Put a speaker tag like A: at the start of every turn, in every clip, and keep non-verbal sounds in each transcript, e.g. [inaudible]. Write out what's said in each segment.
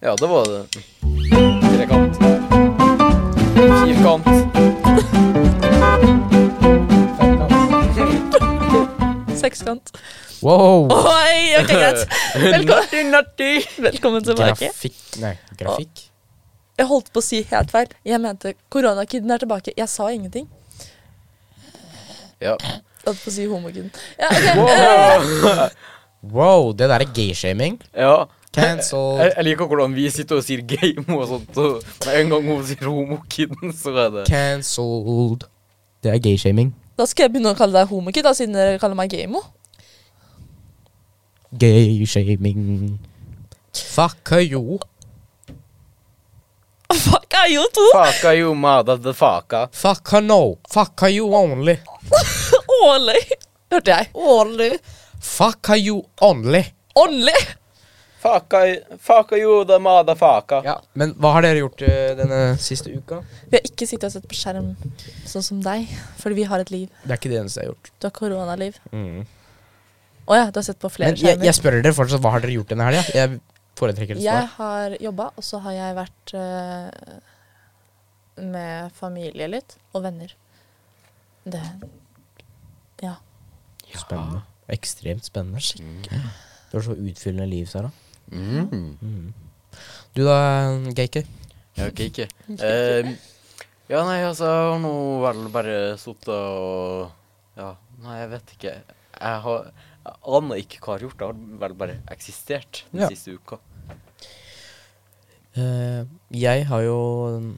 A: Ja, det var det. Trekant. Firkant.
B: Sekskant.
C: Wow!
B: Oi, ok,
C: [laughs]
B: greit. Velkommen, Velkommen tilbake.
C: Grafikk Nei, grafikk?
B: Jeg holdt på å si helt feil. Jeg mente koronakiden er tilbake. Jeg sa ingenting.
A: [laughs] Ja.
B: Jeg holdt på å si homokiden. Ja, ok.
C: Wow, det der er gayshaming.
A: ja. Jeg,
C: Cancelled.
A: jeg liker hvordan vi sitter og sier game og sånt, og med en gang hun sier homokidden, så er det
C: Cancelled. Det er gayshaming.
B: Da skal jeg begynne å kalle deg homokid, da, siden dere kaller meg gamo.
C: Gayshaming. Fuck you.
B: [laughs] Fuck, er jo to!
A: Faka jo mada the faka.
C: Fuck her no. Fuck her you only.
B: [laughs] Årlig, hørte jeg.
C: Only. Fuck her you only.
B: Åndelig!
A: Faka, faka jo the mada faka.
C: Ja, Men hva har dere gjort eh, denne siste uka?
B: Vi har ikke sittet og sett på skjerm, sånn som deg, fordi vi har et liv.
C: Det er ikke det eneste jeg har gjort.
B: Du har koronaliv.
C: Mm.
B: Å ja, du har sett på flere
C: Men jeg,
B: skjermer.
C: jeg spør dere fortsatt, hva har dere gjort denne helga? Jeg foretrekker et
B: Jeg
C: svar.
B: har jobba, og så har jeg vært eh, med familie litt, og venner. Det Ja.
C: Spennende. Ekstremt spennende. Du har så utfyllende liv, Sara.
A: Mm.
C: Du da, Geike?
A: Ja, ok, ikke. Eh, ja, nei, altså, jeg har nå vel bare sittet og Ja, nei, jeg vet ikke. Jeg har jeg aner ikke hva jeg har gjort. Jeg har vel bare eksistert den
C: Ja.
A: siste uka.
C: Eh, jeg har jo mm,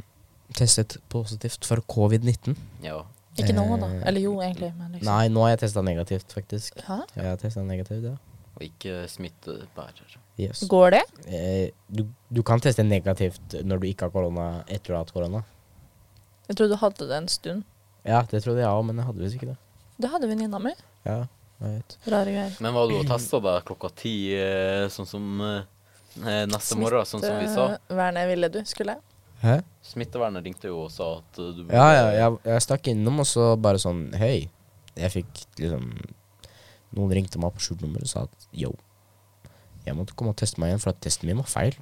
C: testet positivt for covid-19.
A: Ja.
B: Ikke nå, da.
C: Eh,
B: Eller jo, egentlig. Men liksom.
C: Nei, nå har jeg testa negativt, faktisk.
B: Hæ?
C: Jeg har testet negativt, ja.
A: Og ikke smittebærer.
C: Yes.
B: Går det?
C: Eh, du, du kan teste negativt når du ikke har korona etter du har hatt korona.
B: Jeg trodde du hadde det en stund.
C: Ja, det trodde jeg òg, men jeg hadde visst ikke det.
B: Det hadde venninna mi.
C: Ja, jeg vet.
B: Rare greier.
A: Men var du og testa deg klokka ti, eh, sånn som eh, neste morgen, sånn som vi sa?
B: Vernet eh, ville du, skulle jeg.
C: Hæ?
A: Smittevernet ringte jo og sa at eh, du
C: Ja, ja, jeg, jeg stakk innom, og så bare sånn Hei. Jeg fikk liksom Noen ringte meg på skjult nummer og sa at yo, jeg måtte komme og teste meg igjen, for at testen min var feil.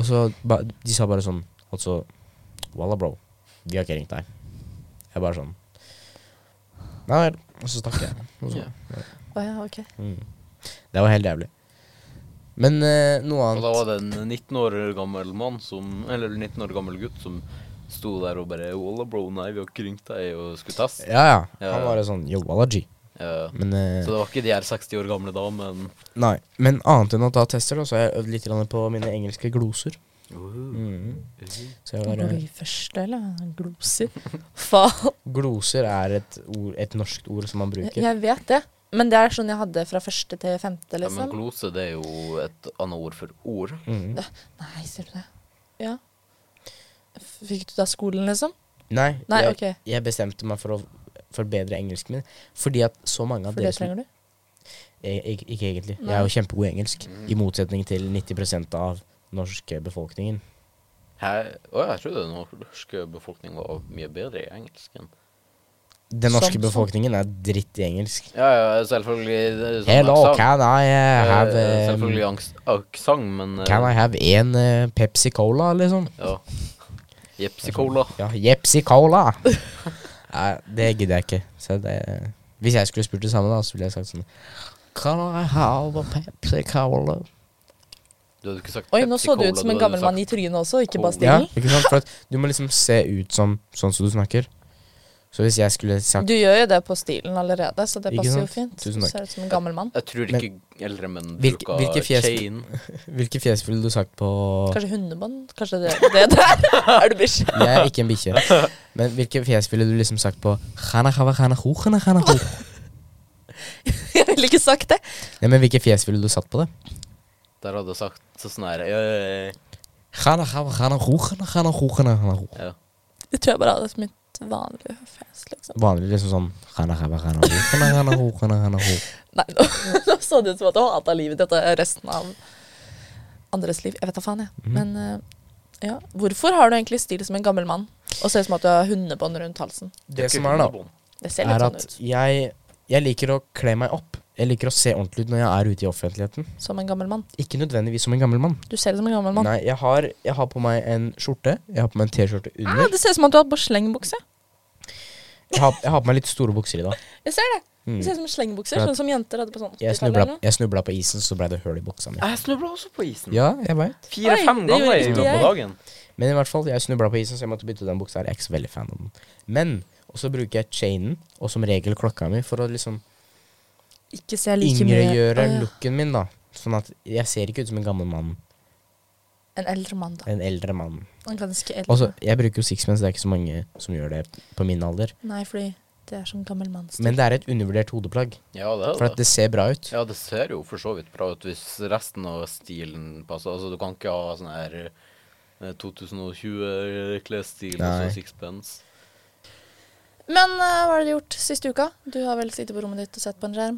C: Og så ba, De sa bare sånn Altså, walla, bro. Vi har ikke ringt deg. Jeg bare sånn Nei vel. Og så stakk jeg. Og så,
A: Ja.
B: Å ja, ok.
C: mm. Det var helt jævlig. Men eh, noe
A: Og da
C: annet
A: var det en 19 år gammel mann som Eller 19 år gammel gutt som sto der og bare Walla, bro, nei, vi har ikke ringt deg og skulle teste.
C: Ja, ja.
A: Ja,
C: Han
A: ja.
C: var sånn yo, walla, G.
A: Ja.
C: Men eh,
A: Så det var ikke de her 60 år gamle damene.
C: Nei, men annet enn å ta tester, da, så har jeg øvd litt grann på mine engelske gloser.
A: Mm.
C: Så jeg har, eh,
B: Blir første, eller? Gloser. Faen.
C: gloser er et, ord, et norsk ord som man bruker.
B: Jeg vet det. Men det er sånn jeg hadde fra første til femte,
A: Ja, men
B: liksom.
A: glose det er jo et annet ord for ord.
C: Mhm.
B: Nei, ser du det? Ja. Fikk du da skolen, liksom?
C: Nei,
B: Nei,
C: jeg,
B: ok.
C: jeg bestemte meg for å forbedre engelsken min. Fordi at så mange av
B: For det
C: dere som
B: trenger du.
C: Jeg- jeg- Ikke egentlig. Jeg
B: Nei.
C: er jo kjempegod i engelsk. I
A: Mm.
C: motsetning til 90 av norske befolkningen.
A: Hæ? Å, jeg trodde den norske befolkningen var mye bedre i engelsken.
C: Den norske
B: Som-
C: befolkningen er dritt i engelsk.
A: Ja, ja, selvfølgelig. det er sånn
C: Hello,
A: aksang.
C: can I eh,
A: Eh,
C: have
A: Selvfølgelig
C: eh,
A: angst- aksang, men eh,
C: Can I have en eh, Pepsi Cola, liksom?
A: Ja. Jepsi Cola.
C: Ja, Jepsi Cola. Nei, det gidder jeg ikke. Så det, hvis jeg skulle spurt det samme, da, så ville jeg sagt sånn Can I have a Pepsi Cola?
A: Du hadde ikke sagt
B: Oi, nå
A: Pepsi
B: så du
A: Cola,
B: ut som en
A: hadde
B: gammel
A: sagt-
B: mann i trynet også, ikke bare
C: Ja,
B: stilen.
C: ikke sant? For at du må liksom se ut som sånn som du snakker. Så hvis jeg skulle sagt
B: Du gjør jo det på stilen allerede, så det
C: Ikke
B: passer jo
C: sant?
B: fint. Du
C: Tusen takk.
B: ser ut som en gammel mann.
A: Jeg tror ikke eldre menn
C: Hvilke-
A: bruker
C: hvilke fjes-
A: chain.
C: Hvilke fjes ville du sagt på
B: Kanskje hundebånd? Kanskje det, det der? [laughs] er du bikkje?
C: Jeg er ikke en bikkje. Men hvilke fjes ville du liksom sagt på «Khana khava khana ho, khana khana ho»?
B: Jeg ville ikke sagt det.
C: Nei, men hvilke fjes ville du satt på det?
A: Der hadde jeg sagt så sånn her eh,
C: «Khana khava khana ho, khana khana ho, khana khana ho».
A: ja.
B: Jeg tror jeg bare hadde mitt vanlige fjes, liksom.
C: Vanlig liksom sånn «Khana khava khana ho, khana khana ho, khana khana ho».
B: Nei, nå, [laughs] nå så det ut som at jeg hata livet ditt og resten av andres liv. Jeg vet da faen, jeg. Men eh, ja. Hvorfor har du egentlig stil som en gammel mann og ser ut som at du har hundebånd rundt halsen?
C: Det som er, da
B: Det ser
C: er
B: litt sånn
C: at
B: ut.
C: jeg Jeg liker å kle meg opp. Jeg liker å se ordentlig ut når jeg er ute i offentligheten.
B: Som en gammel mann.
C: Ikke nødvendigvis som en gammel mann.
B: Du ser ut som en gammel mann.
C: Nei, jeg har, jeg har på meg en skjorte. Jeg har på meg en T-skjorte
B: Ah,
C: under.
B: det ser ut som at du har på slengbukse.
C: Jeg har, jeg har på meg litt store bukser i dag.
B: Jeg ser det.
C: Mm.
B: Det ser ut som slengbukser,
C: Klart.
B: sånn som jenter hadde på sånn.
C: Jeg
B: 80-tallet
C: snubla,
B: eller noe.
C: jeg snubla på isen, så ble det hull i buksa
B: Ah!
C: mi.
A: Jeg snubla også på isen.
C: Ja, jeg vet.
A: Fire-fem
B: Oi, det
A: ganger i
B: gjorde ikke
A: løpet av
B: jeg.
A: dagen.
C: Men i hvert fall, jeg snubla på isen, så jeg måtte bytte den buksa. her. Jeg er ikke så veldig fan av den. Men og så bruker jeg chainen og som regel klokka mi for å liksom
B: Ikke ser like mye
C: yngregjøre
B: Å, ja.
C: looken min, da. Sånn at jeg ser ikke ut som en gammel mann.
B: En eldre mann, da.
C: En eldre mann.
B: En ganske eldre.
C: Og så, Altså, Jeg bruker jo sixpence, det er ikke så mange som gjør det på min alder.
B: Nei, fordi det er sånn gammel manns
C: Men det er et undervurdert hodeplagg,
A: Ja, det
C: for
A: er
C: at
A: det.
C: det ser bra ut.
A: Ja, det ser jo for så vidt bra ut hvis resten av stilen passer. Altså, du kan ikke ha sånn her 2020-klesstil og
C: Nei.
A: så sixpence.
B: Men eh, hva har du gjort siste uka? Du har vel sittet på rommet ditt og sett på en skjerm?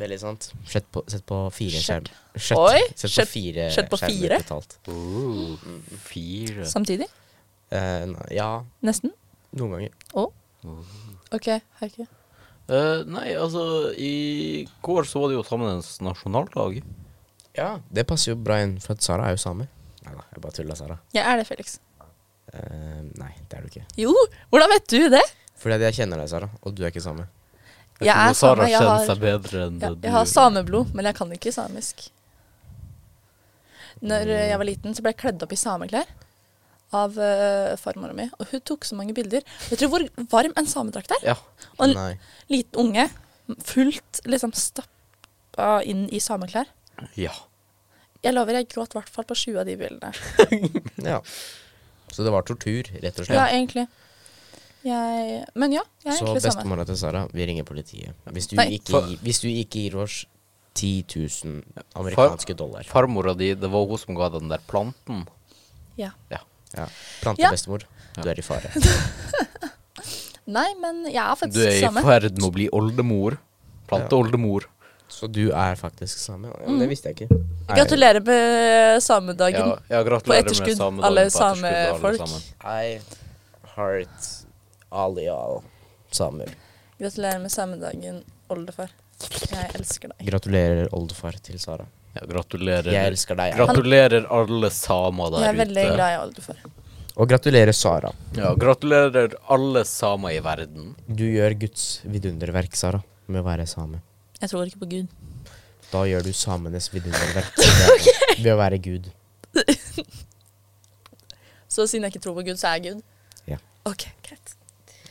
C: Veldig sant. Sett på, sett på fire
B: Skjørt.
C: skjermer. Skjørt.
B: Oi,
C: Sett på
B: skjørt-
C: fire
B: skjørt på
C: skjermer
B: fire?
C: totalt.
A: Oh, fire.
B: Samtidig?
C: Eh, nei, ja,
B: Nesten?
C: noen ganger. Oh.
B: OK, Hauke.
A: Eh, nei, altså, i går så var det jo samenes nasjonaldag.
C: Ja, Det passer jo bra inn, for at Sara er jo same. Nei da, jeg bare tulla, Sara.
B: Jeg er det, Felix.
C: Eh, nei, det er du ikke.
B: Jo, hvordan vet du det?
C: Fordi at jeg kjenner deg, Sara, og du er ikke same.
A: tror
B: Jeg
A: Sara
B: er same. Jeg
A: kjenner
B: har,
A: seg bedre enn
B: ja,
A: det
B: jeg har sameblod, men jeg kan ikke samisk. Når eh, jeg var liten, så ble jeg kledd opp i sameklær av uh, farmora mi. Og hun tok så mange bilder. Vet du hvor varm en samedrakt er?
A: Ja.
B: Og en
C: Nei.
B: liten unge, fullt liksom stappa inn i sameklær.
A: ja.
B: Jeg lover, jeg gråt i hvert fall på sju av de bildene.
C: Ja. Så det var tortur, rett og
B: Ja,
C: slett.
B: egentlig. Jeg Men ja, jeg er
C: Så
B: egentlig same.
C: bestemora til Sara, vi ringer politiet. Hvis du,
B: Nei.
C: ikke, gi- hvis du ikke gir oss 10 000 amerikanske dollar.
A: Farmora di, det var hun som ga deg den der planten.
B: Ja.
A: Ja.
C: Ja. Plante
B: Ja.
C: bestemor, du er i
B: [laughs]
C: fare.
B: Nei, men jeg er
A: Du
B: faktisk
A: er i
B: same.
A: ferd med å bli oldemor. Planteoldemor.
C: Så du er faktisk same? Ja, men det visste jeg ikke.
B: Mm. Gratulerer med samedagen.
A: Ja, ja,
B: På
A: gratulerer med
B: etterskudd,
A: samedagen.
B: alle
A: på etterskudd, alle
B: samefolk.
A: sammen.
C: I heart Alial Samer.
B: Gratulerer med samedagen, oldefar. Jeg elsker deg.
C: Gratulerer, oldefar til Sara.
A: Ja, gratulerer.
C: Jeg elsker deg. Anna.
A: Gratulerer alle samer der
B: Jeg er veldig
A: ute.
B: glad i oldefar.
C: Og gratulerer, Sara.
A: Ja, gratulerer alle samer i verden.
C: Du gjør Guds vidunderverk, Sara, med å være same.
B: Jeg tror ikke på Gud.
C: Da gjør du samenes
B: [laughs]
C: vidunderverk ved- ved å være Gud.
B: Så siden jeg ikke tror på Gud, så er jeg Gud?
C: Ja.
B: Ok, greit.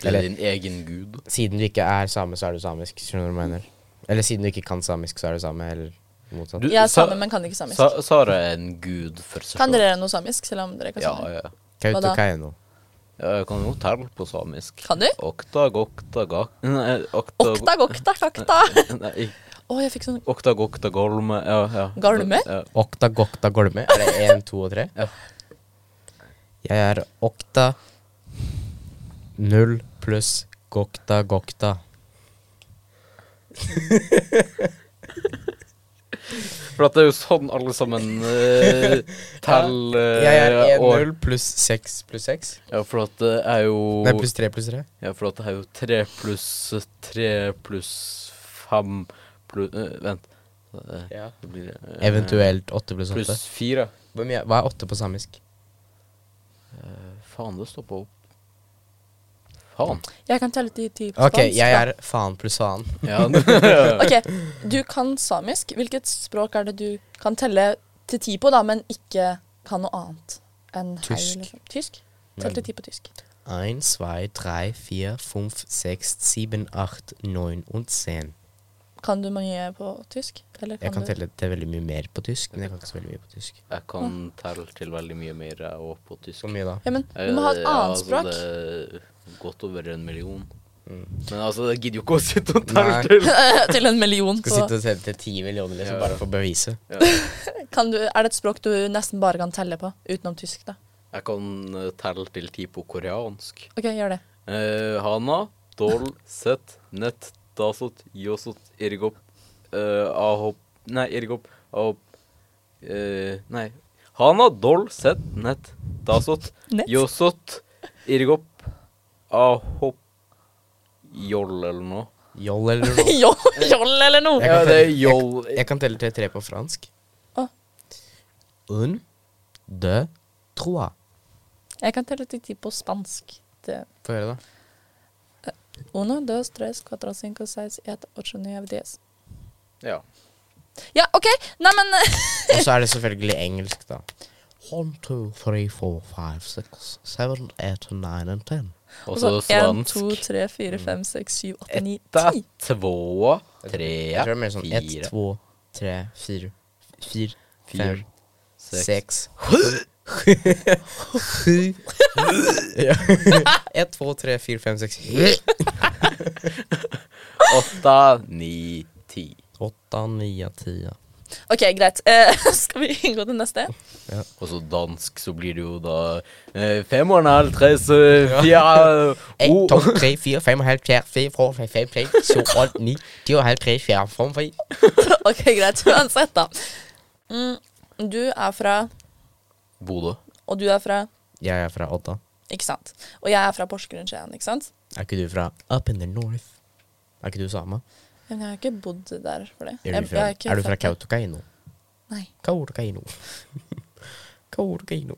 A: Du er
C: Eller-
A: din egen gud.
C: Siden du ikke er same, så er du samisk. Skjønner du hva jeg mener? Eller siden du ikke kan samisk, så er du same, eller motsatt.
A: Du-
B: Jeg er
A: sa-
B: same, men kan ikke samisk.
A: Sa Sara er en gud for seg
B: Kan
A: selv.
B: dere noe samisk, selv om dere kan
A: Ja,
B: samisk?
A: ja. ja.
B: hva da?
C: Kautokeino.
A: Jeg kan jo telle på samisk.
B: Kan du?
A: Oktag, oktag, ak- Nei, oktag
B: Oktag, oktag,
A: [laughs]
B: oktag.
A: Nei,
B: Å, jeg fikk sånn
A: oktag, oktag, golme. Ja, ja.
B: Galme?
A: Ja.
C: Okta, gokta, golme. Er det én, to og tre?
A: Ja.
C: Jeg er okta null pluss gokta, gokta.
A: For at det er jo sånn alle sammen
C: [laughs]
A: eh, teller eh,
C: Jeg er én
A: år.
C: null pluss seks pluss seks.
A: Ja, for at det er jo
C: Nei, pluss tre pluss tre.
A: Ja, for at det er jo tre pluss eh, tre pluss fem pluss Vent. Eh, Det blir eh,
C: Eventuelt åtte pluss åtte.
A: Pluss fire.
C: Hvor mye- Hva er åtte på samisk?
A: Faen, det stopper opp.
C: [laughs]
A: Faen.
B: Jeg kan telle til ti på
C: Ok,
B: spansk.
C: jeg
B: da.
C: er faen pluss faen. [laughs]
A: Ja, det-
B: Ok, du kan samisk. Hvilket språk er det du kan telle til ti på, da, men ikke kan noe annet enn hei?
C: Tysk.
B: liksom? Tysk? Tell til ti på tysk.
C: Ein, zwei, drei, vier, fünf, seks, sieben, acht, neun og zehn.
B: Kan du mye på tysk? Eller
C: Jeg kan
B: du-
C: telle til veldig mye mer på tysk, men jeg kan ikke så veldig mye på tysk.
A: Jeg kan telle til veldig mye mer jeg òg på tysk.
C: Hvor mye da?
B: Ja, men du må ha et
A: Eh, ja,
B: annet
A: altså,
B: språk.
A: det er godt over en million. Men altså, jeg gidder jo ikke å sitte og
C: Mm. Nei.
A: telle
B: [laughs]
A: til.
B: [laughs] til en million
C: Skal
B: på
C: sitte og telle til ti millioner,
A: Ja,
C: liksom,
A: ja.
C: bare for å bevise.
B: kan du, Er det et språk du nesten bare kan telle på utenom tysk, da?
A: Jeg kan eh, telle til ti på koreansk.
B: OK, gjør
C: [laughs]
B: det. [laughs]
A: Eh, hana, dol, set, nett, dasot, josot, irgop, eh, ahop Nei, irgop, ahop eh, Nei. Hana, dol, set, nett, dasot,
B: Nett?
A: josot, irgop, ahop, joll eller noe.
C: Joll eller noe.
B: Joll joll eller noe.
C: Jeg kan
A: Ja, det er
C: telle-
A: joll
C: [laughs] Jeg kan telle til tre på fransk.
B: Ah.
C: Un, deux, trois.
B: Jeg kan telle til ti på spansk. Det.
C: Få høre, da.
B: Uno, dos, tres, cuatro, cinco, seis, et, ocho, nueve, diez.
A: Ja.
B: Ja, OK! Nei, men
C: [laughs] Og så er det selvfølgelig engelsk, da. One, two, three, four, five, six, seven, eight, nine and ten.
A: Og så
B: [laughs] En,
A: svansk.
B: to, tre, fire,
C: Mm.
B: fem, seks, sju, åtte, ni,
A: Etta,
B: ti.
A: två,
C: Jeg tror det
A: tre,
C: er mer sånn ett,
A: fire,
C: to, tre, fire, fire,
A: fire,
C: fem,
A: seks.
C: seks [laughs] Sju. Ja. Ett, to, tre, fire, fem, seks
A: Åtta, ni, ti.
C: Åtte, ni, ti. ja.
B: OK, greit. Eh, [laughs] skal vi gå til neste? [laughs]
A: Og så dansk, så blir det jo da eh, fem og en halv, tre, så fire
C: En,
A: oh,
C: to, tre, fire, fem, halvfjerds, fire, fem, fem, fem, tre, sju, åtte, ni, ti og halvfjerds, fire, fem, fem.
B: OK, greit. [laughs] Uansett, da. Mm, du er fra
A: Bodø.
B: Og du er fra
C: Jeg er fra Odda.
B: Ikke sant? Og jeg er fra Porsgrunn, Skien, ikke sant?
C: Er ikke du fra up in the north? Er ikke du same?
B: Men jeg har ikke bodd der for det. Jeg-
C: Er du
B: jeg
C: fra,
B: har ikke
C: er du fra
B: født der.
C: Kautokeino?
B: Nei.
C: Kautokeino. [laughs] Kautokeino.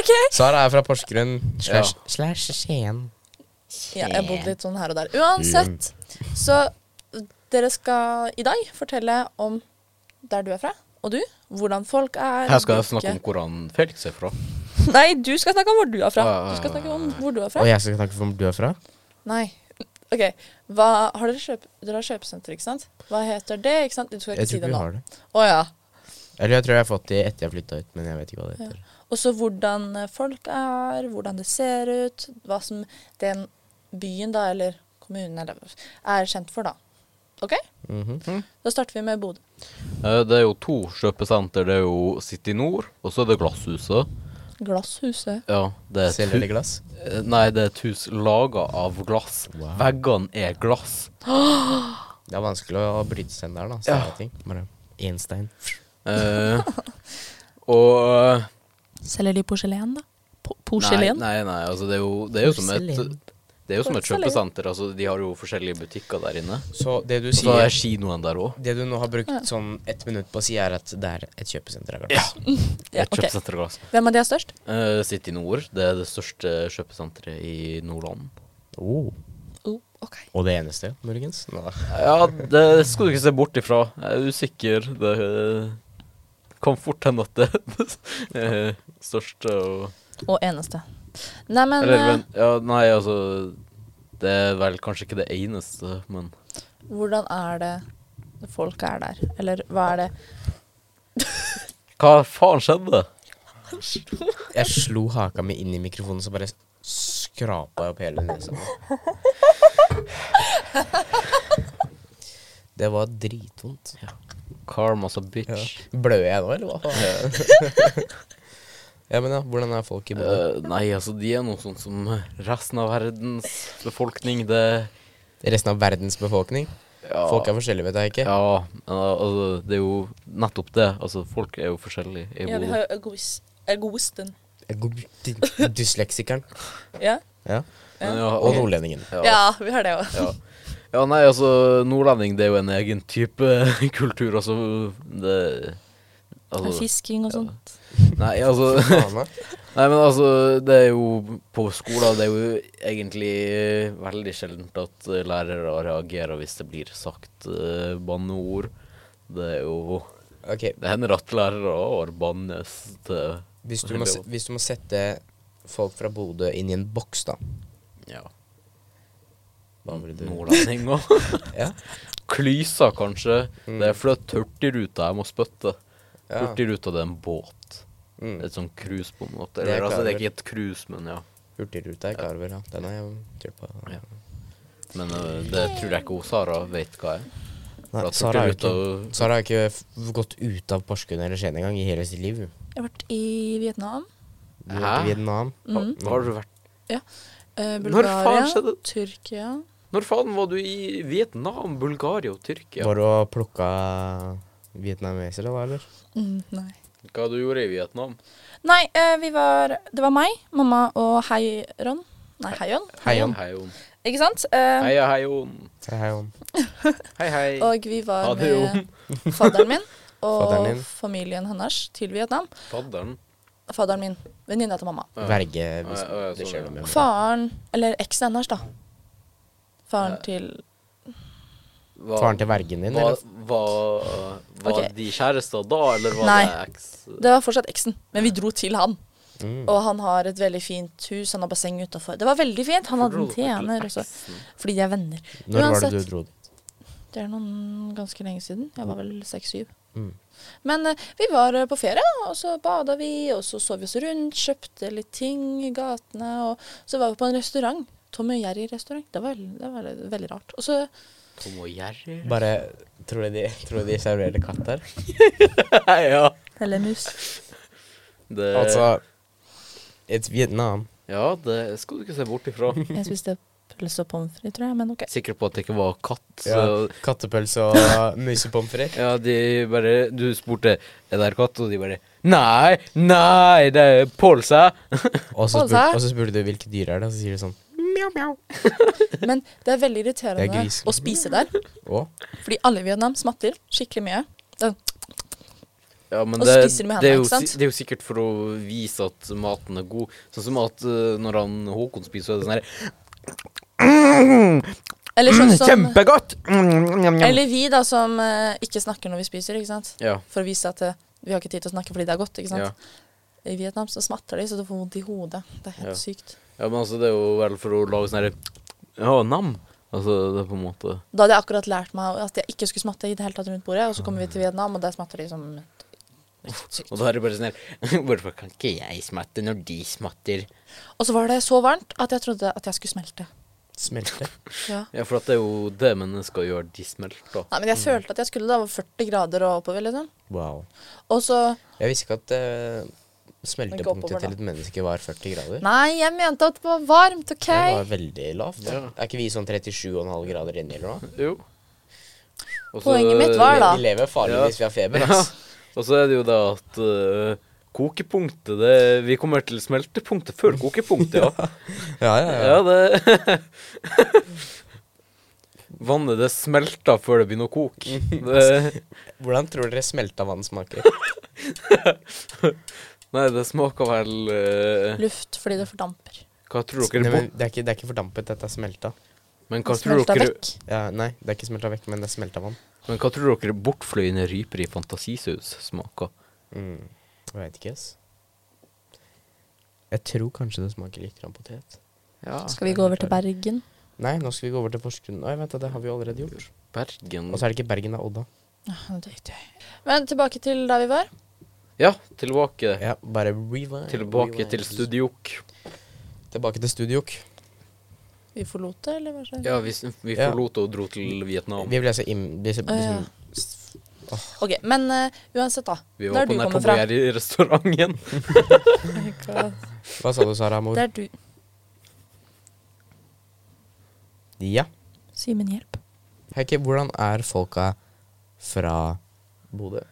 B: OK!
C: Sara er fra Porsgrunn slash,
A: Ja.
C: slash Skien.
B: Ja, jeg har bodd litt sånn her og der. Uansett, så dere skal i dag fortelle om der du er fra, og du. Hvordan folk er.
A: Her skal jeg
B: hvilke-
A: snakke om hvor han Felix er fra.
B: Nei, du skal snakke om hvor du er fra.
A: Ah.
B: Du skal snakke om hvor du er fra.
C: Og jeg skal snakke om hvor du er fra?
B: Nei. OK. Hva, har dere, kjøp, dere har kjøpesenter, ikke sant? Hva heter det? ikke sant? Du skal ikke
C: Jeg tror
B: si
C: ikke
B: det
C: vi
B: nå.
C: har det.
B: Å ja.
C: Eller jeg tror jeg har fått det etter jeg flytta ut, men jeg vet ikke hva det heter.
B: Og så hvordan eh, folk er, hvordan det ser ut, hva som den byen da, eller kommunen eller, er kjent for, da. OK?
C: Mhm.
B: Da starter vi med Bodø.
A: Eh, Det er jo to kjøpesenter. Det er jo City Nord, og så er det Glasshuset.
B: Glasshuset.
A: Ja, det er
C: Selger de glass?
A: Eh, Nei, det er et hus laga av glass.
C: Wow.
A: Veggene er glass.
C: Det er vanskelig å bryte seg inn der, da. Så
A: Ja.
C: jeg ting. Bare én stein.
A: Eh, [laughs] og eh,
B: Selger de porselen, da? Po
A: Nei,
B: porselen?
A: nei, nei, altså det er jo, det er jo som
C: Porselen.
A: et det er jo som et
B: Porselen.
A: kjøpesenter. altså De har jo forskjellige butikker der inne.
C: Så det du
A: Og så er
C: sier
A: kinoen der òg.
C: Det du nå har brukt sånn ett minutt på å si, er at det er et kjøpesenter av glass.
B: Ja,
A: Et altså.
B: ok.
A: kjøpesenter av glass.
B: Hvem av de er størst?
A: Eh, City Nord. Det er det største kjøpesenteret i Nordland.
C: Oh.
B: Oh, OK.
C: Og det eneste, muligens? Nå.
A: Ja, det skal du ikke se bort ifra. Jeg er usikker. Det eh, kan fort hende at det [laughs] er det største og
B: Og eneste. Nei, men
A: Eller
B: eh,
A: vent, ja, nei, altså Det er vel kanskje ikke det eneste, men
B: Hvordan er det folk er der? Eller hva er det
A: Hva faen skjedde?
C: Jeg slo haka mi inn i mikrofonen, så bare skrapa jeg opp hele nesa. Det var dritvondt.
A: Karma's a bitch.
C: Bløder jeg nå, eller hva faen? [laughs] ja, men ja, hvordan er folk i Bodø?
A: Eh, nei, altså, de er noe sånn som resten av verdens befolkning. Det
C: Resten av verdens befolkning?
A: ja,
C: Folk er forskjellige, vet jeg ikke.
A: Ja, men, altså, det er jo nettopp det. Altså, folk er jo forskjellige i
B: Ja, vi
A: Bodø.
B: har jo egoist- egoisten.
C: Jeg går- d- Dysleksikeren.
B: Ja?
C: Ja.
A: Men ja,
C: Og
A: og-
C: nordlendingen.
A: Ja.
B: ja, vi har det òg.
A: ja. ja, nei, altså, nordlending, det er jo en egen type [laughs] kultur, altså. Det Altså,
B: Fisking og sånt.
A: nei, altså
C: Faen, da.
A: Nei, men altså, det er jo på skolen Det er jo egentlig eh, veldig sjeldent at eh, lærere reagerer hvis det blir sagt eh, banneord. Det er jo
C: Ok,
A: Det hender at lærere har bannes til
C: hvis du, må, se- hvis du må sette folk fra Bodø inn i en boks, da
A: ja,
C: Hva ville du
A: nordlendinger. [laughs]
C: Ja.
A: Klyser, kanskje.
C: Mm.
A: Det er fløtt hurtigruta jeg må spytte.
C: Ja.
A: Hurtigruta, det er en båt.
C: Mm.
A: Et sånn cruise, på en måte.
C: Det er
A: Eller, altså, det er
C: klar.
A: ikke et cruise, men ja.
C: Hurtigruta er klar over, ja. Den har jeg turt på.
A: Ja. Men eh, det tror jeg ikke hun Sara vet hva er.
C: Nei,
A: For at
C: Sara har jo ikke,
A: hurtigruta-
C: Sara har ikke f gått ut av Porsgrunn eller Skien engang i hele sitt liv.
B: Jeg har vært i Vietnam,
C: Hun har vært
A: Hæ?
C: i Vietnam.
B: Mhm.
A: Har har du vært
B: eh,
A: Når
B: Bulgaria,
A: faen skjedde det?
B: Tyrkia
A: Når faen var du i Vietnam, Bulgaria og Tyrkia?
C: Var du og plukka vietnamesere da, eller?
B: mm, Nei.
A: Hva du gjorde i Vietnam?
B: Nei, eh, vi var Det var meg, mamma og Heiron. Nei, Heion.
C: Heion.
A: Heion.
B: Ikke sant? Eh,
A: Heia, hei, Jon.
C: Hei, hei, Jon.
A: Hei, hei.
B: og vi var
A: Ha det,
B: [laughs] med fadderen min og
C: Fadderen din.
B: familien hennes til Vietnam.
A: Fadderen.
B: Fadderen min. Venninna til mamma.
A: Ja.
D: Verge hvis
A: Ja, ja,
D: det
A: sånn,
D: skjer
A: ja.
D: noe med meg.
B: Faren Eller eksen hennes, da.
A: Ja.
B: Faren til
A: Hva-
D: Faren til vergen din,
A: Var,
D: eller?
A: var, var
B: Ok.
A: de kjærester da, eller var
B: Nei.
A: det eks?
B: Det var fortsatt eksen, men vi dro til han.
C: Mm.
B: Og han har et veldig fint hus, han har basseng utafor. Det var veldig fint. Han hadde
A: Dro
B: en
A: dere til
B: tjener også.
A: eksen?
B: Fordi de er venner.
C: Når var
B: Uansett.
C: det du dro dit?
B: Det er noen ganske lenge siden. Jeg var vel seks-syv.
C: Mm.
B: Men eh, vi var eh, på ferie, da, og så bada vi, og så så vi oss rundt, kjøpte litt ting i gatene, og så var vi på en restaurant. Tom og Jerry-restaurant. Det var, det var veldig rart. Og så
A: Tom og Jerry?
C: Bare Tror du de, tror du de serverer katt der?
A: [laughs] ja.
B: Eller mus.
A: Det,
C: Altså It's Vietnam.
A: ja, det skal du ikke se bort ifra.
B: [laughs] Jeg spiste pølse og pommes frites, tror jeg, men OK.
A: Sikker på at det ikke var katt. Så,
C: Ja, kattepølse og
A: [laughs]
C: musepommes frites.
A: ja, de bare Du spurte er det her katt, og de bare Nei, nei, det er pølse.
C: Og så
B: Pølse?
C: spurte, og så spurte du hvilke dyr er det, og så sier du sånn
B: Men det er veldig irriterende
C: Det er grisen.
B: å spise der,
C: Å?
B: fordi alle i Vietnam smatter skikkelig mye. Det-
A: Ja, men
B: Og
A: det,
B: spiser med
A: det, er
B: hendene,
A: jo,
B: ikke sant?
A: si- det er jo sikkert for å vise at maten er god. Sånn som at eh, når han Håkon spiser, så er det sånn her
B: Eller sånn som
A: Kjempegodt! Mm, njam, njam.
B: Eller vi, da, som eh, ikke snakker når vi spiser, ikke sant.
A: Ja.
B: For å vise at eh, vi har ikke tid til å snakke fordi det er godt, ikke sant.
A: Ja.
B: I Vietnam så smatter de, så du får vondt i hodet. Det er helt
A: Ja.
B: sykt.
A: Ja, men altså, det er jo vel for å lage sånn herre Ja, nam. Altså, det er på en måte
B: Da hadde jeg akkurat lært meg at jeg ikke skulle smatte i det hele tatt rundt bordet, og så kommer vi
A: Mm.
B: til Vietnam, og der smatter de som
A: Og da er det bare sånn her [laughs] Hvorfor kan ikke jeg smatte når de smatter?
B: Og så var det så varmt at jeg trodde at jeg skulle smelte.
C: Smelte.
B: Ja.
A: Ja, Mm. for at det er jo det mennesker gjør. De smelter.
B: Nei, men jeg følte at jeg skulle da var 40 grader og oppover, liksom.
C: Wow.
B: Og så
C: Jeg visste ikke at eh,
B: Den går oppover,
C: smeltepunktet
B: da.
C: til et menneske var 40 grader.
B: Nei, jeg mente at det var varmt, OK?
C: Det var veldig lavt. da.
A: Ja.
C: Er ikke vi sånn 37,5 grader inne eller noe?
A: Jo. Og så-
B: Poenget mitt var da- Ja.
C: Vi lever farlig
A: Ja.
C: hvis vi har feber,
A: [laughs] Ja.
C: ass.
A: Og så er det jo det at eh, kokepunktet det, Vi kommer til smeltepunktet før kokepunktet,
B: [laughs]
A: ja.
C: Ja, ja,
A: ja det [laughs] Vannet det smelter før det begynner å
B: [laughs]
A: koke. Det,
C: Hvordan tror dere smelta vann [laughs] smaker?
A: nei, det smaker vel eh,
B: Luft fordi det fordamper.
A: Hva tror
C: Nei,
A: dere
C: men
A: bort
C: det, er ikke, det er ikke fordampet, dette er smelta.
A: Men hva tror
B: Smelta
A: dere
B: vekk.
C: Ja, nei, det er ikke smelta vekk, men det er smelta vann.
A: Men hva tror dere bortfløyende ryper i fantasisaus smaker?
C: Mm. Jeg veit ikke, ass. Jeg tror kanskje det smaker litt grann potet.
A: Ja,
B: Skal vi gå over til Bergen?
C: Nei, nå skal vi gå over til Porsgrunn. Oi, vent, da, det har vi jo allerede gjort.
A: Bergen
C: Og så er det ikke Bergen, det er Odda.
B: Ja, det er ikke det. Men tilbake til der vi var.
A: Ja, tilbake.
C: Ja, bare rewind.
A: Tilbake
C: rewind.
A: til studiok.
C: Tilbake til studiok.
B: Vi forlot det, eller hva skjedde?
A: Ja, vi, s- vi
C: Ja.
A: forlot og dro til Vietnam.
C: Vi ble altså im... Vi, så-
B: Å, ja.
C: liksom,
B: OK, men eh, uansett, da.
A: Vi var
B: der
A: på
B: du kommer fra.
A: Napoleon-restauranten. [laughs]
C: Hva sa du, Sara Mor?
B: Der du
C: Ja.
B: Simen, hjelp.
C: Heike, hvordan er folka fra Bodø?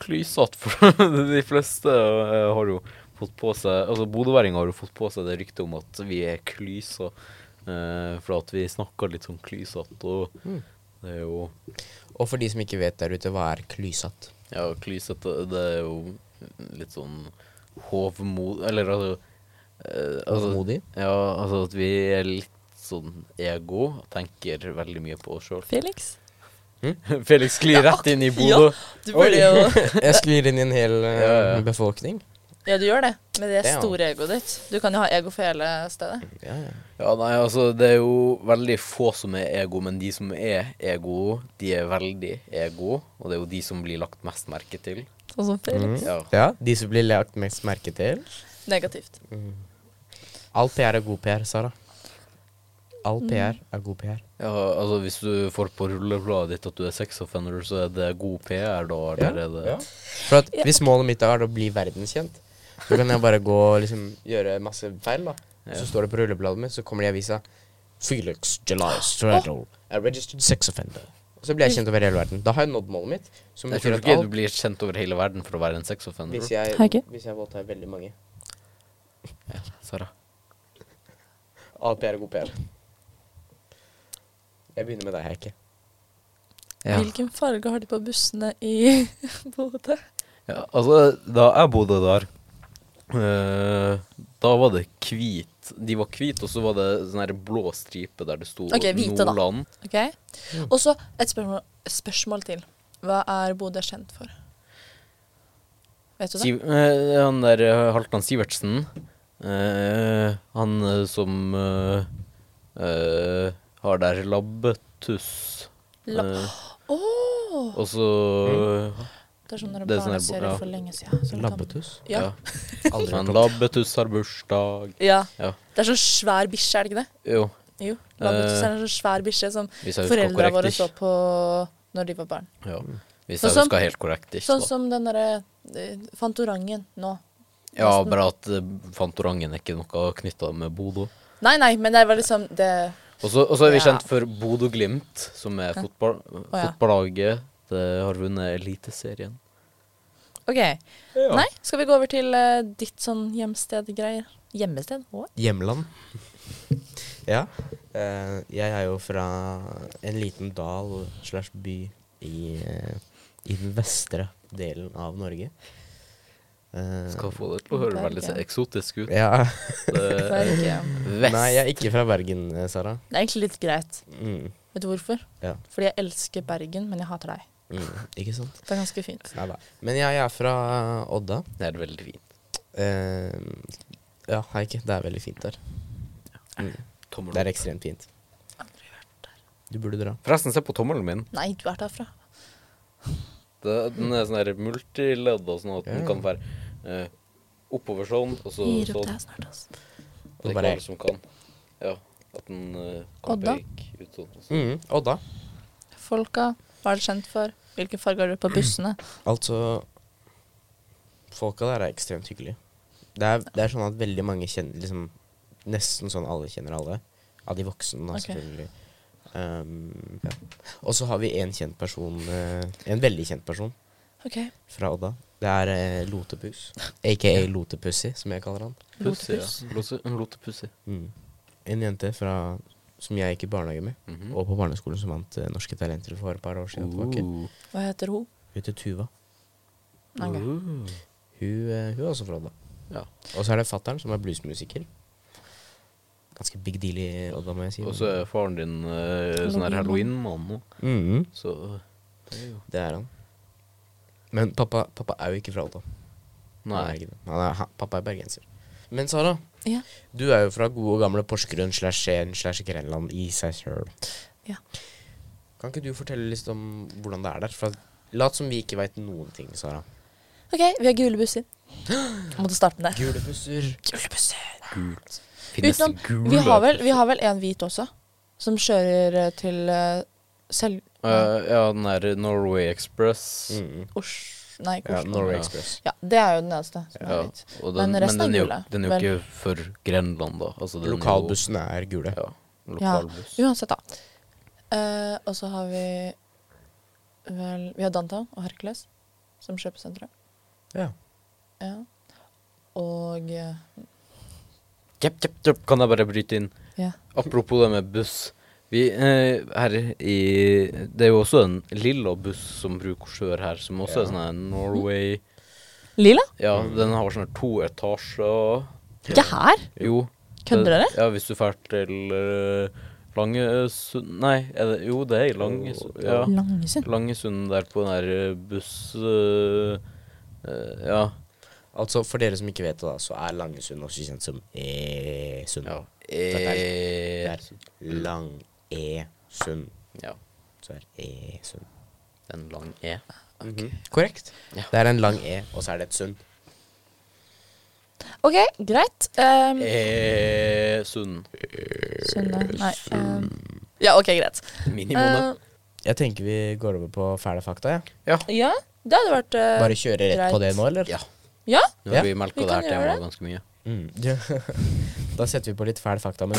A: Klysete for [laughs] de fleste eh, har jo fått på seg Altså bodøværinger har jo fått på seg det ryktet om at vi er klysa. eh, for at vi snakker litt sånn klysete, og
C: Mm.
A: det er jo
C: Og for de som ikke vet der ute, hva er klysete?
A: Ja, klysete, det er jo litt sånn hovmod... Eller altså, eh, altså [laughs]
C: Modig?
A: Ja, altså at vi er litt sånn ego, tenker veldig mye på oss sjøl.
B: Felix?
A: [laughs] Felix sklir rett inn i Bodø.
B: Du
C: Oi.
B: burde jo
C: Jeg sklir inn i en hel eh,
A: Ja, ja.
C: befolkning.
B: [laughs] Ja, du gjør det. Med det
C: Det, ja.
B: store egoet ditt. Du kan jo ha ego for hele stedet.
C: Ja, ja.
A: Ja, nei, altså, det er jo veldig få som er ego, men de som er ego, de er veldig ego, og det er jo de som blir lagt mest merke til.
B: Sånn som Felix.
A: Ja.
C: ja, De som blir lagt mest merke til.
B: Negativt.
C: All PR er god PR, Sara. All PR er god PR.
A: Ja, altså hvis du får på rullebladet ditt at du er sex offender, så er det god PR, da. Eller er det
C: For at hvis målet mitt er å bli verdenskjent, så kan jeg bare gå og liksom gjøre masse feil, da. Og Så står det på rullebladet mitt, så kommer det i avisa Felix July Straddle, a registered sex offender. Og så blir jeg kjent over hele verden. Da har jeg nådd målet mitt. Som
A: Jeg
C: betyr
A: tror
C: at
A: ikke
C: alt,
A: du blir kjent over hele verden for å være en sex offender.
C: hvis jeg,
B: Hei, Gud.
C: hvis jeg voldtar veldig mange
A: Sara.
C: All PR er god PR. Jeg begynner med deg, Heike.
A: Ja.
B: Hvilken farge har de på bussene i [laughs] Bodø?
A: Ja, altså, da jeg bodde der, eh, da var det hvit. De var hvite, og så var det sånn her blå stripe der det sto
B: Ok, hvite da.
A: Nordland.
B: Ok?
A: Mm.
B: Og så et spørsmål, spørsmål til. Hva er Bodø kjent for? Vet du det?
A: Siv, eh, han der eh, Halvdan Sivertsen, eh, han eh, som eh, eh, har der labbetuss.
B: La-
A: eh,
B: Å!
A: og så
B: det er sånn når
A: det er sånn her-
B: barneserie
A: ja.
B: for lenge siden. så det kan- Ja.
A: ja. Men labbetuss har bursdag.
B: ja.
A: Ja.
B: Det er sånn svær bikkje, er det ikke det?
A: Jo, Eh,
B: Jo. Labbetuss er en sånn svær bikkje som
A: hvis jeg husker
B: foreldra våre
A: korrekt.
B: så
A: Ikke.
B: på når de var barn.
A: Ja.
C: Mm.
A: Hvis
B: Sånn
A: jeg
B: som-
A: husker helt korrekt. Ikke,
B: Sånn
A: da.
B: som den derre eh, Fantorangen nå.
A: Ja,
B: Nesten.
A: bare at eh, Fantorangen er ikke noe knytta med Bodø.
B: Nei, nei, men det var liksom det
A: Og så og så er vi
B: Ja.
A: kjent for Bodø-Glimt, som er
B: Ja.
A: fotball,
B: ja.
A: fotballaget. Det har vunnet Eliteserien.
B: OK. Nei, skal vi gå over til eh, ditt sånn hjemsted-greier? Hjemmested? What?
C: Hjemland. [laughs] ja. Eh, jeg er jo fra en liten dal slash by i, eh, i den vestre delen av Norge. Eh,
A: Skal få det til å høre veldig så
B: Bergen.
C: [laughs]
A: eksotisk ut. Eh,
C: ja.
B: Det
A: Det
B: er, ikke,
A: Vest.
C: Nei, jeg er ikke fra Bergen, eh, Sara.
B: det er egentlig litt greit.
C: Mm.
B: Vet du hvorfor?
C: Ja.
B: Fordi jeg elsker Bergen, men jeg hater deg.
C: Mm. Ikke sant?
B: Det er ganske fint.
C: Neida. Men jeg er fra eh, Odda.
A: Det er veldig fint.
C: Eh, ja, Heike, det er veldig fint der. Mm.
A: Tommel
C: Det er
A: opp.
C: ekstremt fint. Du burde dra.
A: Forresten, se på tommelen min.
B: Nei, du er derfra.
A: Det, den er sånn her multiledd, og sånn at den
C: Ja.
A: kan være eh, oppover sånn, og så
B: Gir opp
A: sånn.
B: deg snart, altså.
A: Det er
C: Bare-
A: ikke alle som kan. Ja. At den eh, kan
B: Odda?
A: peke ut sånn. og sånn.
C: Mm. Odda.
B: Folka, hva er det kjent for? Hvilken farge har
A: [clears throat]
B: du på bussene?
C: Altså Folka der er ekstremt hyggelige. Det er, det er sånn at veldig mange kjenner liksom, Nesten sånn alle kjenner alle. Av de voksne, da,
B: Ok.
C: selvfølgelig. Um, ja. Og så har vi en kjent person eh, En veldig kjent person
B: OK.
C: fra Odda. Det er eh, Lotepus. Aka Lotepussy, som jeg kaller han.
A: Pussy, ja.
B: Lotepus.
A: Lose- en Lotepussy.
C: Mm. En jente fra, som jeg gikk i barnehage med,
A: Mhm.
C: og på barneskolen som vant eh, Norske Talenter for et par år siden. tilbake.
A: Uh.
B: Hva heter hun?
C: Hun heter Tuva.
B: Nei, ok.
A: Uh.
C: Hun, eh, hun er også fra Odda.
A: Ja.
C: Og så er det fattern, som er bluesmusiker. Ganske big deal i Odda, må jeg si.
A: Og så er faren din eh, sånn her halloween-mann nå,
C: Mhm,
A: så det er jo
C: Det er han. Men pappa, pappa er jo ikke fra Odda. Han er
A: Nei.
C: ikke det. Han er, han, pappa er bergenser. Men Sara,
B: Ja.
C: du er jo fra gode og gamle Porsgrunn slash Skien slash Grenland i seg sjøl.
B: Ja.
C: Kan ikke du fortelle litt om hvordan det er der? For lat som vi ikke veit noen ting, Sara.
B: OK, vi har gule
A: [gasps]
B: busser. Jeg måtte starte med det.
C: Gule busser.
B: Gule busser.
A: Gult.
B: Utenom- Vi har vel, vi har vel en hvit også, som kjører eh, til eh, Sel...
A: Eh, ja, den der Norway Express.
C: Mhm.
B: Osj... Nei,
C: Ja,
B: Oslo.
C: Norway
A: Ja.
C: Express.
B: Ja, det er jo den eneste som
A: Ja,
B: er hvit.
A: og
B: Men
A: den, men,
B: resten er
A: den er jo,
B: gule,
A: den er jo ikke for Grenland, da. Altså, den er jo-
C: Lokalbussene er gule.
A: Ja, lokalbuss.
B: Uansett, da. Eh, og så har vi vel Vi har Downtown og Hercules som kjøpesentre.
C: Ja.
B: Ja. Og eh,
A: Jepp, jepp, jepp, kan jeg bare bryte inn?
B: Ja.
A: Apropos det med buss. Vi, eh, her i Det er jo også en lilla buss som bruker kjør her, som også er
C: Ja.
A: sånn her Norway
B: Lilla?
A: Ja, den har sånn her to etasjer.
B: Ikke her!
A: Jo.
B: Kødder
A: det-
B: dere?
A: Ja, hvis du drar til eh, Langesund Nei, er det, jo, det er i Langesund. Ja.
B: Langesund.
A: Langesund der på den der eh, buss... eh, eh, ja.
C: Altså, for dere som ikke vet det, da, så er Langesund også kjent som E-sund.
A: ja.
C: Det
A: Eh,
C: er Lang-E-sund.
A: ja.
C: Så er E-sund.
A: En lang E.
C: Mhm. Korrekt.
A: Ja.
C: Det er en lang E, og så er det et sund.
B: OK, greit. Um,
A: Eh, Sund.
B: Sunne Nei. Um,
C: sånn-
B: ja, OK, greit. Ehm,
A: Minimone.
C: Jeg tenker vi går over på fæle fakta. Ja.
A: ja.
B: Eh, ja, det hadde vært eh,
C: Bare kjøre rett på
B: greit.
C: det nå, eller?
A: Ja.
B: Ja?
A: Nå har
C: Ja,
A: vi melka
B: vi
A: det her
B: kan gjøre
A: temaet
B: det.
A: ganske mye.
C: Mm. Ja. [laughs] da setter vi på litt fæle fakta. Men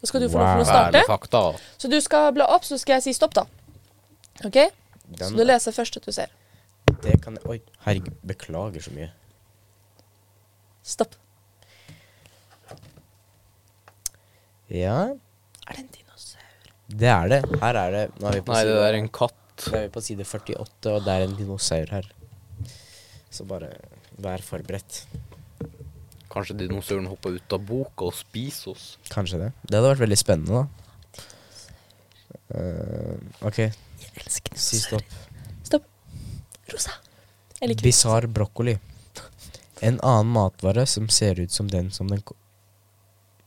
B: Da skal du få lov til å
A: Fæle
B: starte.
A: fakta.
B: Så du skal bla opp, så skal jeg si stopp, da. OK? Så
C: Den-
B: du leser først at du ser.
C: Det kan jeg Oi, herregud. Beklager så mye.
B: Stopp.
C: Ja,
B: Er det en dinosaur?
C: det er det. Her er det Nå er vi på,
A: Nei, det
C: side,
A: der er en katt.
C: nå er vi på side 48, og det er en dinosaur her. Så bare vær forberedt.
A: Kanskje dinosauren hopper ut av boka og spiser oss.
C: Kanskje det. Det hadde vært veldig spennende, da. Eh, OK,
B: Jeg elsker
C: si stopp.
B: Stopp. Rosa. Jeg liker
C: Bisarr brokkoli. En annen matvare som ser ut som den som den ko-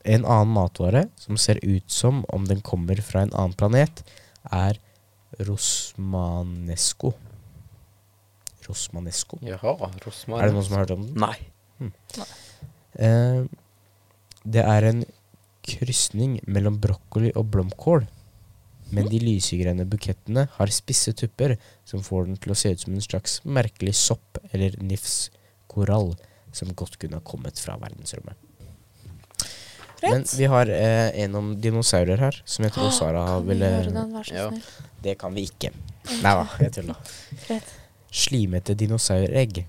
C: En annen matvare som ser ut som om den kommer fra en annen planet, er rosmanesco. Rosmanesco?
A: Jaha,
C: Er det
A: rosmarin.
C: noen som har hørt om den?
A: Nei.
C: Eh, det er en krysning mellom brokkoli og blomkål. Men de lysegrønne bukettene har spisse tupper som får den til å se ut som en slags merkelig sopp eller nifskorall som godt kunne ha kommet fra verdensrommet.
B: Rett.
C: Men vi har eh, en om dinosaurer her, som jeg tror Sara
B: Kan vi
C: ville
B: høre den, vær så
A: ja.
B: snill?
C: Det kan vi ikke. Nei da,
B: [laughs]
C: jeg tulla.
B: Greit.
C: Slimete dinosauregg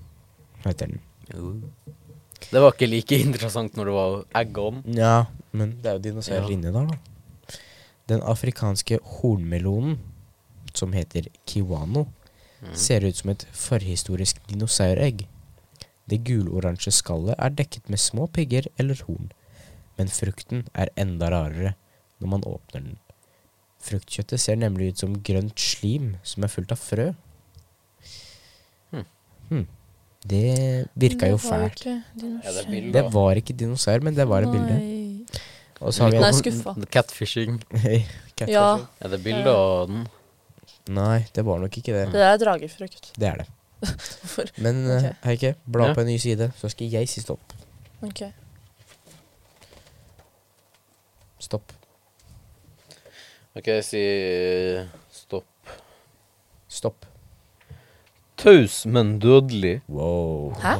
C: heter den.
A: Det var ikke like [laughs] interessant når det var egg om.
C: Ja, men det er jo dinosaurer
A: Ja.
C: inni der, da. Den afrikanske hornmelonen, som heter kiwano,
A: Mm.
C: ser ut som et forhistorisk dinosauregg. Det guloransje skallet er dekket med små pigger eller horn, men frukten er enda rarere når man åpner den. Fruktkjøttet ser nemlig ut som grønt slim som er fullt av frø.
A: Hmm.
C: Hmm. Det virka jo
B: Det var
C: fælt.
B: ikke dinosaur.
A: Ja, det er bilder.
C: Det var ikke dinosaur, men det var et bilde.
B: Nei.
C: Og så har vi
B: Nei, skuffa.
A: Catfishing.
C: Catfish.
B: Ja,
A: Er det bilde av den?
C: Nei, det var nok ikke
B: det
C: det.
B: der er dragefrukt.
C: Det er det.
B: [laughs] Hvorfor?
C: Men
B: Ok.
C: eh, Heike, bla
A: Ja.
C: på en ny side, så skal jeg si stopp.
B: Ok.
C: Stopp.
A: OK, jeg sier eh, stopp.
C: Stopp.
A: Taus, men dødelig.
C: Wow.
B: Hæ?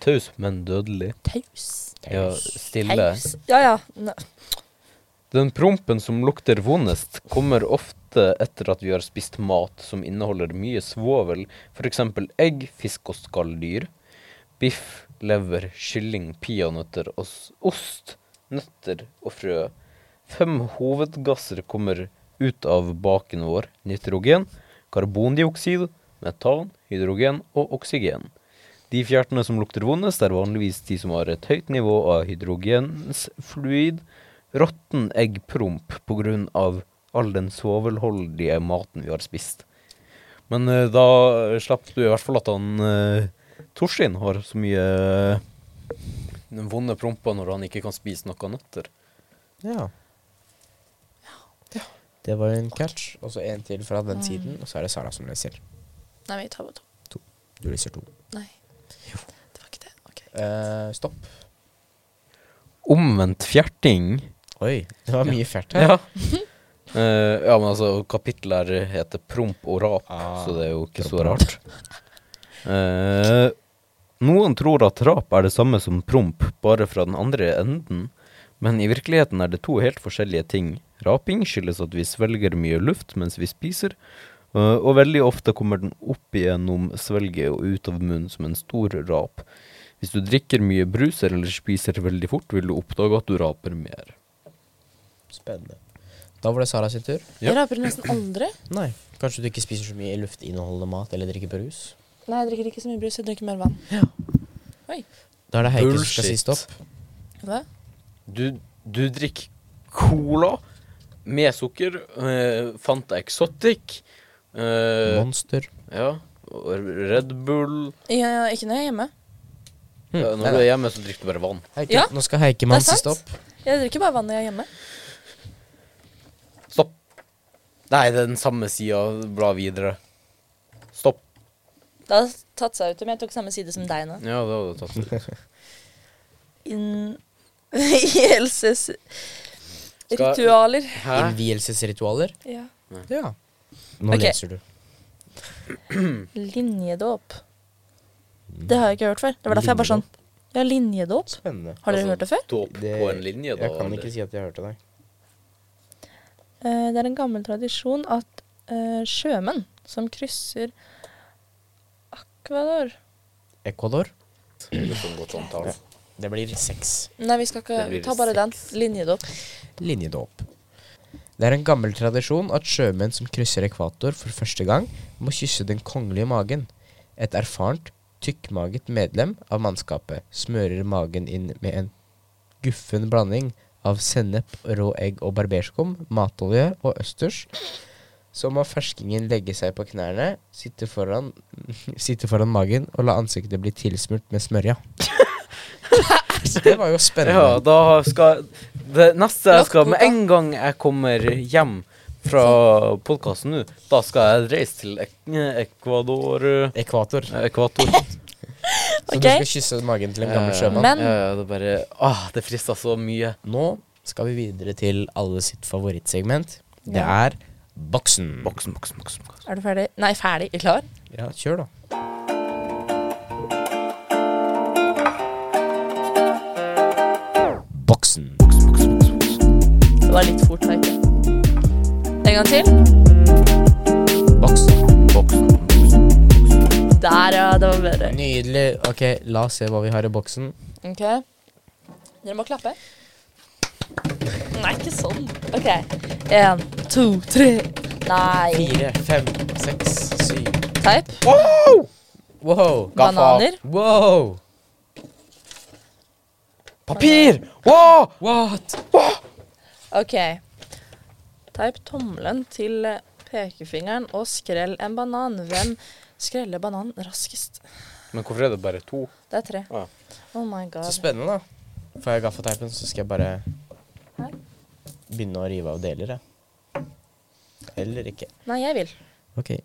A: Taus, men dødelig.
B: Taus.
A: Ja, stille.
B: Taus. Ja, ja. Nei.
A: Den prompen som lukter vondest, kommer ofte etter at vi har spist mat som inneholder mye svovel, f.eks. egg, fisk og skalldyr, biff, lever, kylling, peanøtter, og s- ost, nøtter og frø. Fem hovedgasser kommer ut av baken vår. Nitrogen, karbondioksid, metan, hydrogen og oksygen. De fjertene som lukter vondest, er vanligvis de som har et høyt nivå av hydrogensfluid, råtten eggpromp pga. all den svovelholdige maten vi har spist. Men eh, da slapp du i hvert fall at han uh, Torstein har så mye eh, den vonde prompa når han ikke kan spise noe nøtter.
C: Ja. Det var en catch, og så en til fra den siden, og så er det Sara som leser.
B: Nei, vi tar bare to.
C: Du leser to.
B: Nei. Det var ikke det. Ok.
C: Eh, stopp.
A: Omvendt fjerting.
C: Oi, det var mye fælt her.
A: Ja. [laughs] Eh, ja, men altså, kapittelet her heter Promp og rap,
C: Ah,
A: så det er jo ikke
C: promp
A: så
C: og rap.
A: rart. Eh, noen tror at rap er det samme som promp, bare fra den andre enden. Men i virkeligheten er det to helt forskjellige ting. Raping skyldes at vi svelger mye luft mens vi spiser, eh, og veldig ofte kommer den opp gjennom svelget og ut av munnen som en stor rap. Hvis du drikker mye brus eller spiser veldig fort, vil du oppdage at du raper mer.
C: Spennende. Da var det Sara sin tur.
A: Ja.
B: Jeg raper nesten aldri.
C: Nei. Kanskje du ikke spiser så mye luftinnholdende mat eller drikker brus?
B: Nei, jeg drikker ikke så mye brus. Jeg drikker mer vann.
C: Da er det Heike som skal si
A: Bullshit.
C: stopp.
B: Hva?
A: Du, du drikker cola med sukker, eh, Fanta Exotic eh,
C: Monster.
A: ja, og Red Bull
B: Ja, ikke når jeg er hjemme.
A: ja,
C: Hm, nei,
A: Når du er hjemme, så drikker du bare vann.
C: Heike,
B: Ja.
C: Nå skal Heikemann
B: Det er
C: si
B: sant.
C: stopp.
B: Jeg drikker bare vann når jeg er hjemme.
A: Stopp. Nei, det er den samme sida. Bla videre. Stopp.
B: Det har tatt seg ut, men jeg tok samme side som deg nå.
A: Ja, det hadde du tatt
C: [laughs]
A: ut.
B: [laughs] Inn... Hjelses... Ritualer.
A: Hæ?
C: Innvielsesritualer.
B: Ja.
C: Ja. Nå
B: Ok.
C: leser du.
B: Mm. Linjedåp. Det har jeg ikke hørt før. Det var derfor jeg bare sånn Ja, linjedåp.
C: Spennende.
B: Har dere hørt det før?
A: Dåp på en linje, da.
C: Jeg kan
A: eller?
C: ikke si at jeg hørte deg.
B: Eh, Det er en gammel tradisjon at eh, sjømenn som krysser ak Ecuador.
C: Ecuador.
A: Det får en godt omtale.
C: Det blir seks.
B: Nei, vi skal ikke
A: Det blir
B: Ta bare den. Linje det opp.
C: Linjedåp. Det er en gammel tradisjon at sjømenn som krysser ekvator for første gang, må kysse den kongelige magen. Et erfarent, tykkmaget medlem av mannskapet smører magen inn med en guffen blanding av sennep, rå egg og barberskum, matolje og østers. Så må ferskingen legge seg på knærne, sitte foran, [laughs] sitte foran magen og la ansiktet bli tilsmurt med smørja. Det var jo spennende.
A: Ja, da skal Det neste jeg
B: Lagt
A: skal Med
B: boka.
A: en gang jeg kommer hjem fra podkasten nå, da skal jeg reise til Ek- Ecuador eh,
C: Ekvator.
B: [laughs]
A: Ekvator.
C: Så
B: Ok.
C: du skal kysse magen til en gammel
A: Eh,
C: sjømann?
B: Men-
A: Ja, ja, det er bare Åh, det frister så mye.
C: Nå skal vi videre til alle sitt favorittsegment. Det
B: Ja.
C: er boksen.
A: Boksen, boksen, boksen. boksen.
B: Er du ferdig? Nei, ferdig. Klar?
C: Ja, kjør, da. Boksen.
B: Det var litt fort, Eike. En gang til.
C: Boksen.
B: Der, ja. Det var bedre.
C: Nydelig. Ok, la oss se hva vi har i boksen.
B: Ok. Dere må klappe. Nei, ikke sånn. Ok. En, to, tre. Nei.
C: Fire, fem, seks, syv.
B: Teip.
C: Wow.
B: Bananer.
C: Wow.
A: Papir! Wow!
C: What?
B: Ok. Teip tommelen til pekefingeren og skrell en banan. Hvem skreller bananen raskest?
A: Men hvorfor er det bare to?
B: Det er tre.
A: Ja.
B: Oh my
C: Så
B: god.
C: spennende, da. Får jeg gaffateipen, så skal jeg bare begynne å rive av deler, jeg. Eller ikke.
B: Nei, jeg vil.
C: Ok.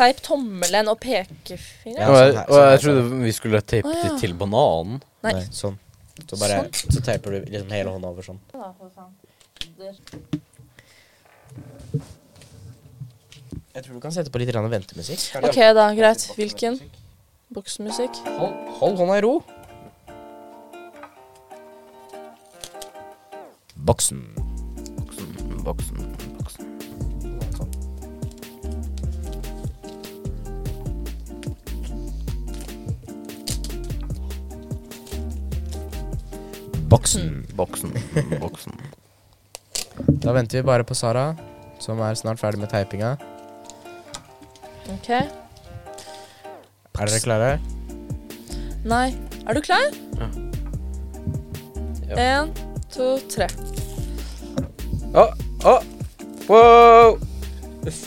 B: Teip tommelen og pekefingeren.
C: Ja,
A: og jeg,
C: sånn her,
A: og jeg
C: sånn her,
A: trodde vi skulle tape
B: Å, ja.
A: det til bananen.
B: Nei.
C: sånn. Så bare Så teiper du liksom hele hånda over sånn.
B: Da, for faen. Der.
C: Jeg tror du kan sette på litt grann ventemusikk.
B: Ok, da. Greit. Hvilken? Boksemusikk.
C: Hold, hold hånda i ro. Boksen.
A: Boksen, boksen, boksen.
C: Sånn. Boksen.
A: Boksen, boksen. [laughs]
C: Da venter vi bare på Sara, som er snart ferdig med teipinga.
B: Ok.
C: Er dere klare?
B: Nei. Er du klar?
A: Ja.
B: En, to, tre.
A: Å, å, Ah, wow! [laughs]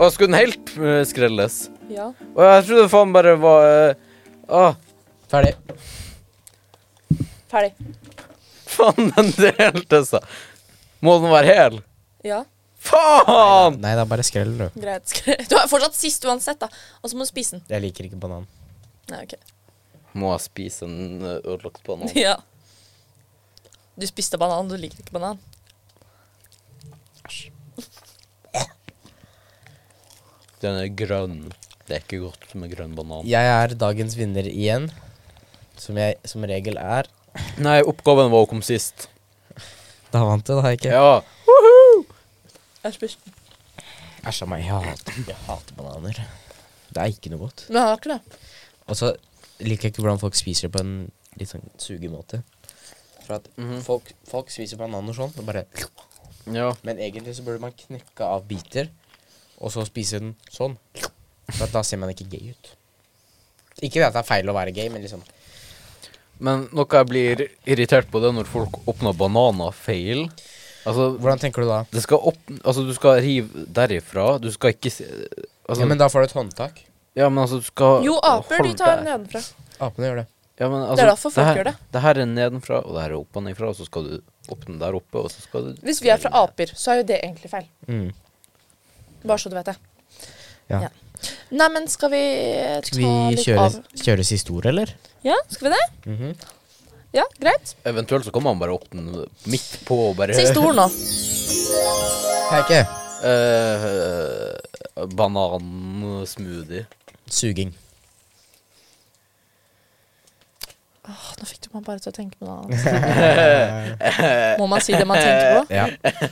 A: Å, skulle den helt eh, skrelles?
B: Ja.
A: Å, jeg trodde faen bare var eh, Å,
C: Ferdig.
B: Ferdig.
A: faen, [laughs] den delte seg. Må den være hel?
B: Ja.
A: Faen!
C: Nei, da bare skrell, du.
B: Greit. [laughs] Skre- Du er fortsatt sist uansett, da. Og så må du spise den.
C: Jeg liker ikke banan.
B: Nei, ok.
A: Må jeg spise en eh, ødelagt banan?
B: [laughs] Ja. Du spiste banan, du liker ikke banan.
A: Den er grønn. Det er ikke godt med grønn banan.
C: Jeg er dagens vinner igjen, som jeg som regel er.
A: Nei, oppgaven var å komme sist.
C: Da vant du, da, ikke?
A: Ja.
B: Jeg spiste den.
C: Æsj a meg, jeg hater, jeg hater bananer. Det er ikke noe godt.
B: Men jeg har ikke det.
C: Og så liker jeg ikke hvordan folk spiser det på en litt sånn sugemåte. For at
A: Mhm.
C: folk, folk spiser bananer sånn, og bare
A: ja.
C: Men egentlig så burde man knekke av biter, og så spise den sånn. For at da ser man ikke gay ut. Ikke det at det er feil å være gay, men liksom
A: Men noe jeg blir irritert på, det er når folk åpner bananer feil. Altså,
C: Hvordan tenker du da?
A: det skal opp, altså du skal rive derifra. Du skal ikke se altså,
C: Ja, men da får du et håndtak.
A: altså, du skal
B: Jo, aper de
A: holde
B: tar
A: deg.
B: nedenfra.
C: Apene gjør det.
A: ja, men, altså,
B: derfor folk
A: her,
B: gjør det.
A: Det her er nedenfra, og det her er oppenifra, og så skal du åpne der oppe, og så skal du
B: Hvis vi er fra aper, så er jo det egentlig feil.
C: Mm.
B: Bare så du vet det.
C: Ja.
B: Nei, men skal vi ta
C: Skal vi
B: litt
C: kjøre,
B: av
C: kjøre siste ord, eller?
B: Ja, skal vi det?
A: Mhm.
B: Ja, greit.
A: Eventuelt så kan man bare åpne midt på og bare
B: Siste ord nå.
C: Heike.
A: Eh, banansmoothie.
C: Suging.
B: Åh, nå fikk du meg bare til å tenke på noe annet. Må man si det man tenker på?
C: [laughs] Ja.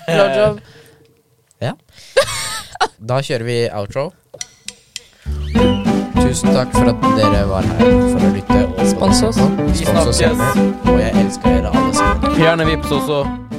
B: Blowjob.
C: ja. Da kjører vi outro. Tusen takk for at dere var her for å lytte. og-
B: Spons oss.
C: Spons oss.
A: Vi snakkes.
C: Og jeg elsker dere alle sammen.
A: Gjerne vips også.